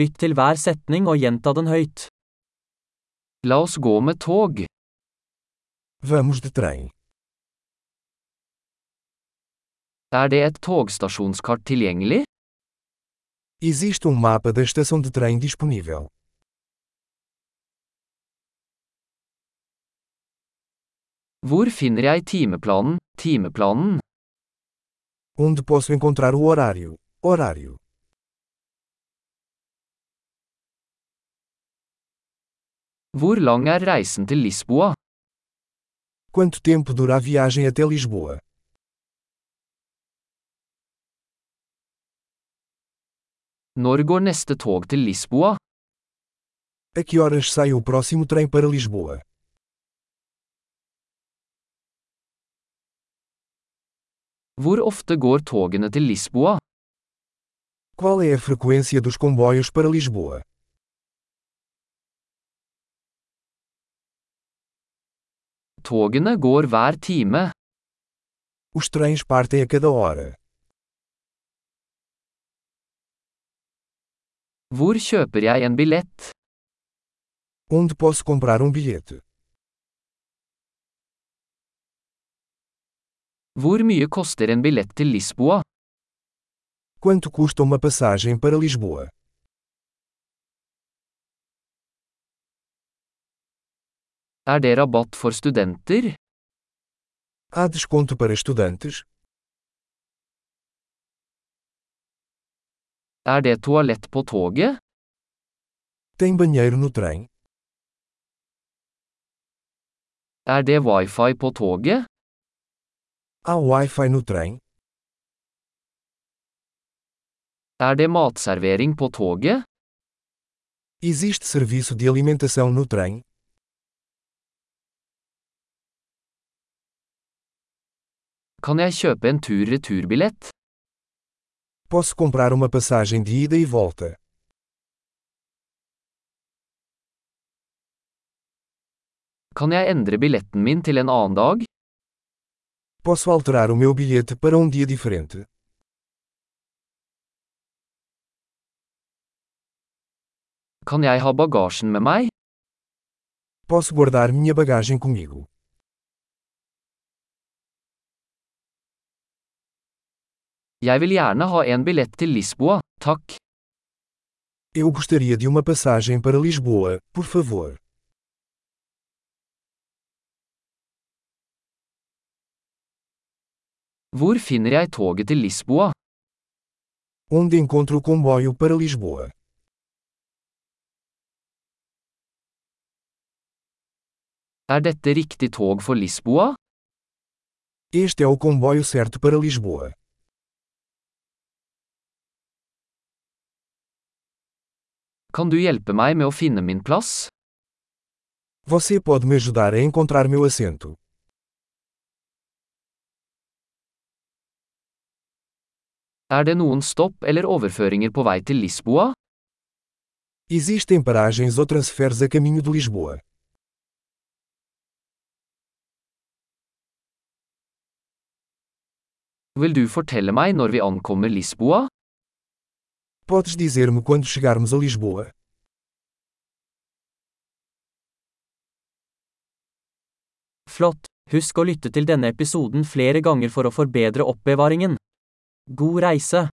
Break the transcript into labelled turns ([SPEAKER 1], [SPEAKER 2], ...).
[SPEAKER 1] Lytt til hver setning og gjenta den høyt. La oss gå med tog.
[SPEAKER 2] Vamos de trem.
[SPEAKER 1] Er det et togstasjonskart tilgjengelig?
[SPEAKER 2] Existe um mapa da estação de trem disponível.
[SPEAKER 1] Hvor finner jeg timeplanen, timeplanen?
[SPEAKER 2] Onde posso encontrar o horário? Horário.
[SPEAKER 1] Hvor lang er reisen til Lisboa?
[SPEAKER 2] Quanto tempo dura a viagem até Lisboa?
[SPEAKER 1] Når går neste tog til Lisboa?
[SPEAKER 2] A que horas sai o próximo trem para Lisboa?
[SPEAKER 1] Hvor ofte går togene til Lisboa?
[SPEAKER 2] Qual é a frequência dos comboios para Lisboa?
[SPEAKER 1] Togene går hver time.
[SPEAKER 2] Os trens partem a cada hora.
[SPEAKER 1] Hvor kjøper jeg en billett?
[SPEAKER 2] Onde posso comprar um bilhete?
[SPEAKER 1] Hvor mye koster en billett til Lisboa?
[SPEAKER 2] Quanto custa uma passagem para Lisboa?
[SPEAKER 1] Er det rabatt for studenter?
[SPEAKER 2] Há desconto para estudantes?
[SPEAKER 1] Er det toalett på toget?
[SPEAKER 2] Tem banheiro no trem?
[SPEAKER 1] Er det wifi på toget?
[SPEAKER 2] Há Wi-Fi no trem?
[SPEAKER 1] Er det matservering på toget?
[SPEAKER 2] Existe serviço de alimentação no trem?
[SPEAKER 1] Kan jeg kjøpe en tur-returbillett?
[SPEAKER 2] Posso comprar uma passagem de ida e volta?
[SPEAKER 1] Kan jeg endre billetten min til en annen dag?
[SPEAKER 2] Posso alterar o meu bilhete para um dia diferente?
[SPEAKER 1] Kan jeg ha bagasjen med meg?
[SPEAKER 2] Posso guardar minha bagagem comigo?
[SPEAKER 1] Jeg vil gjerne ha en billett til Lisboa, takk.
[SPEAKER 2] Eu gostaria de uma passagem para Lisboa, por favor.
[SPEAKER 1] Hvor finner jeg toget til Lisboa?
[SPEAKER 2] Onde encontro o comboio para Lisboa?
[SPEAKER 1] Er dette riktig tog for Lisboa?
[SPEAKER 2] Este é o comboio certo para Lisboa.
[SPEAKER 1] Kan du hjelpe meg med å finne min plass?
[SPEAKER 2] Você pode me ajudar a encontrar meu assento.
[SPEAKER 1] Er det noen stopp eller overføringer på vei til Lisboa?
[SPEAKER 2] Existem paragens ou transferes a caminho de Lisboa?
[SPEAKER 1] Vil du fortelle meg når vi ankommer Lisboa?
[SPEAKER 2] Podes dizer-me quando chegarmos a Lisboa?
[SPEAKER 1] Flott! Husk å lytte til denne episoden flere ganger for å forbedre oppbevaringen. God reise!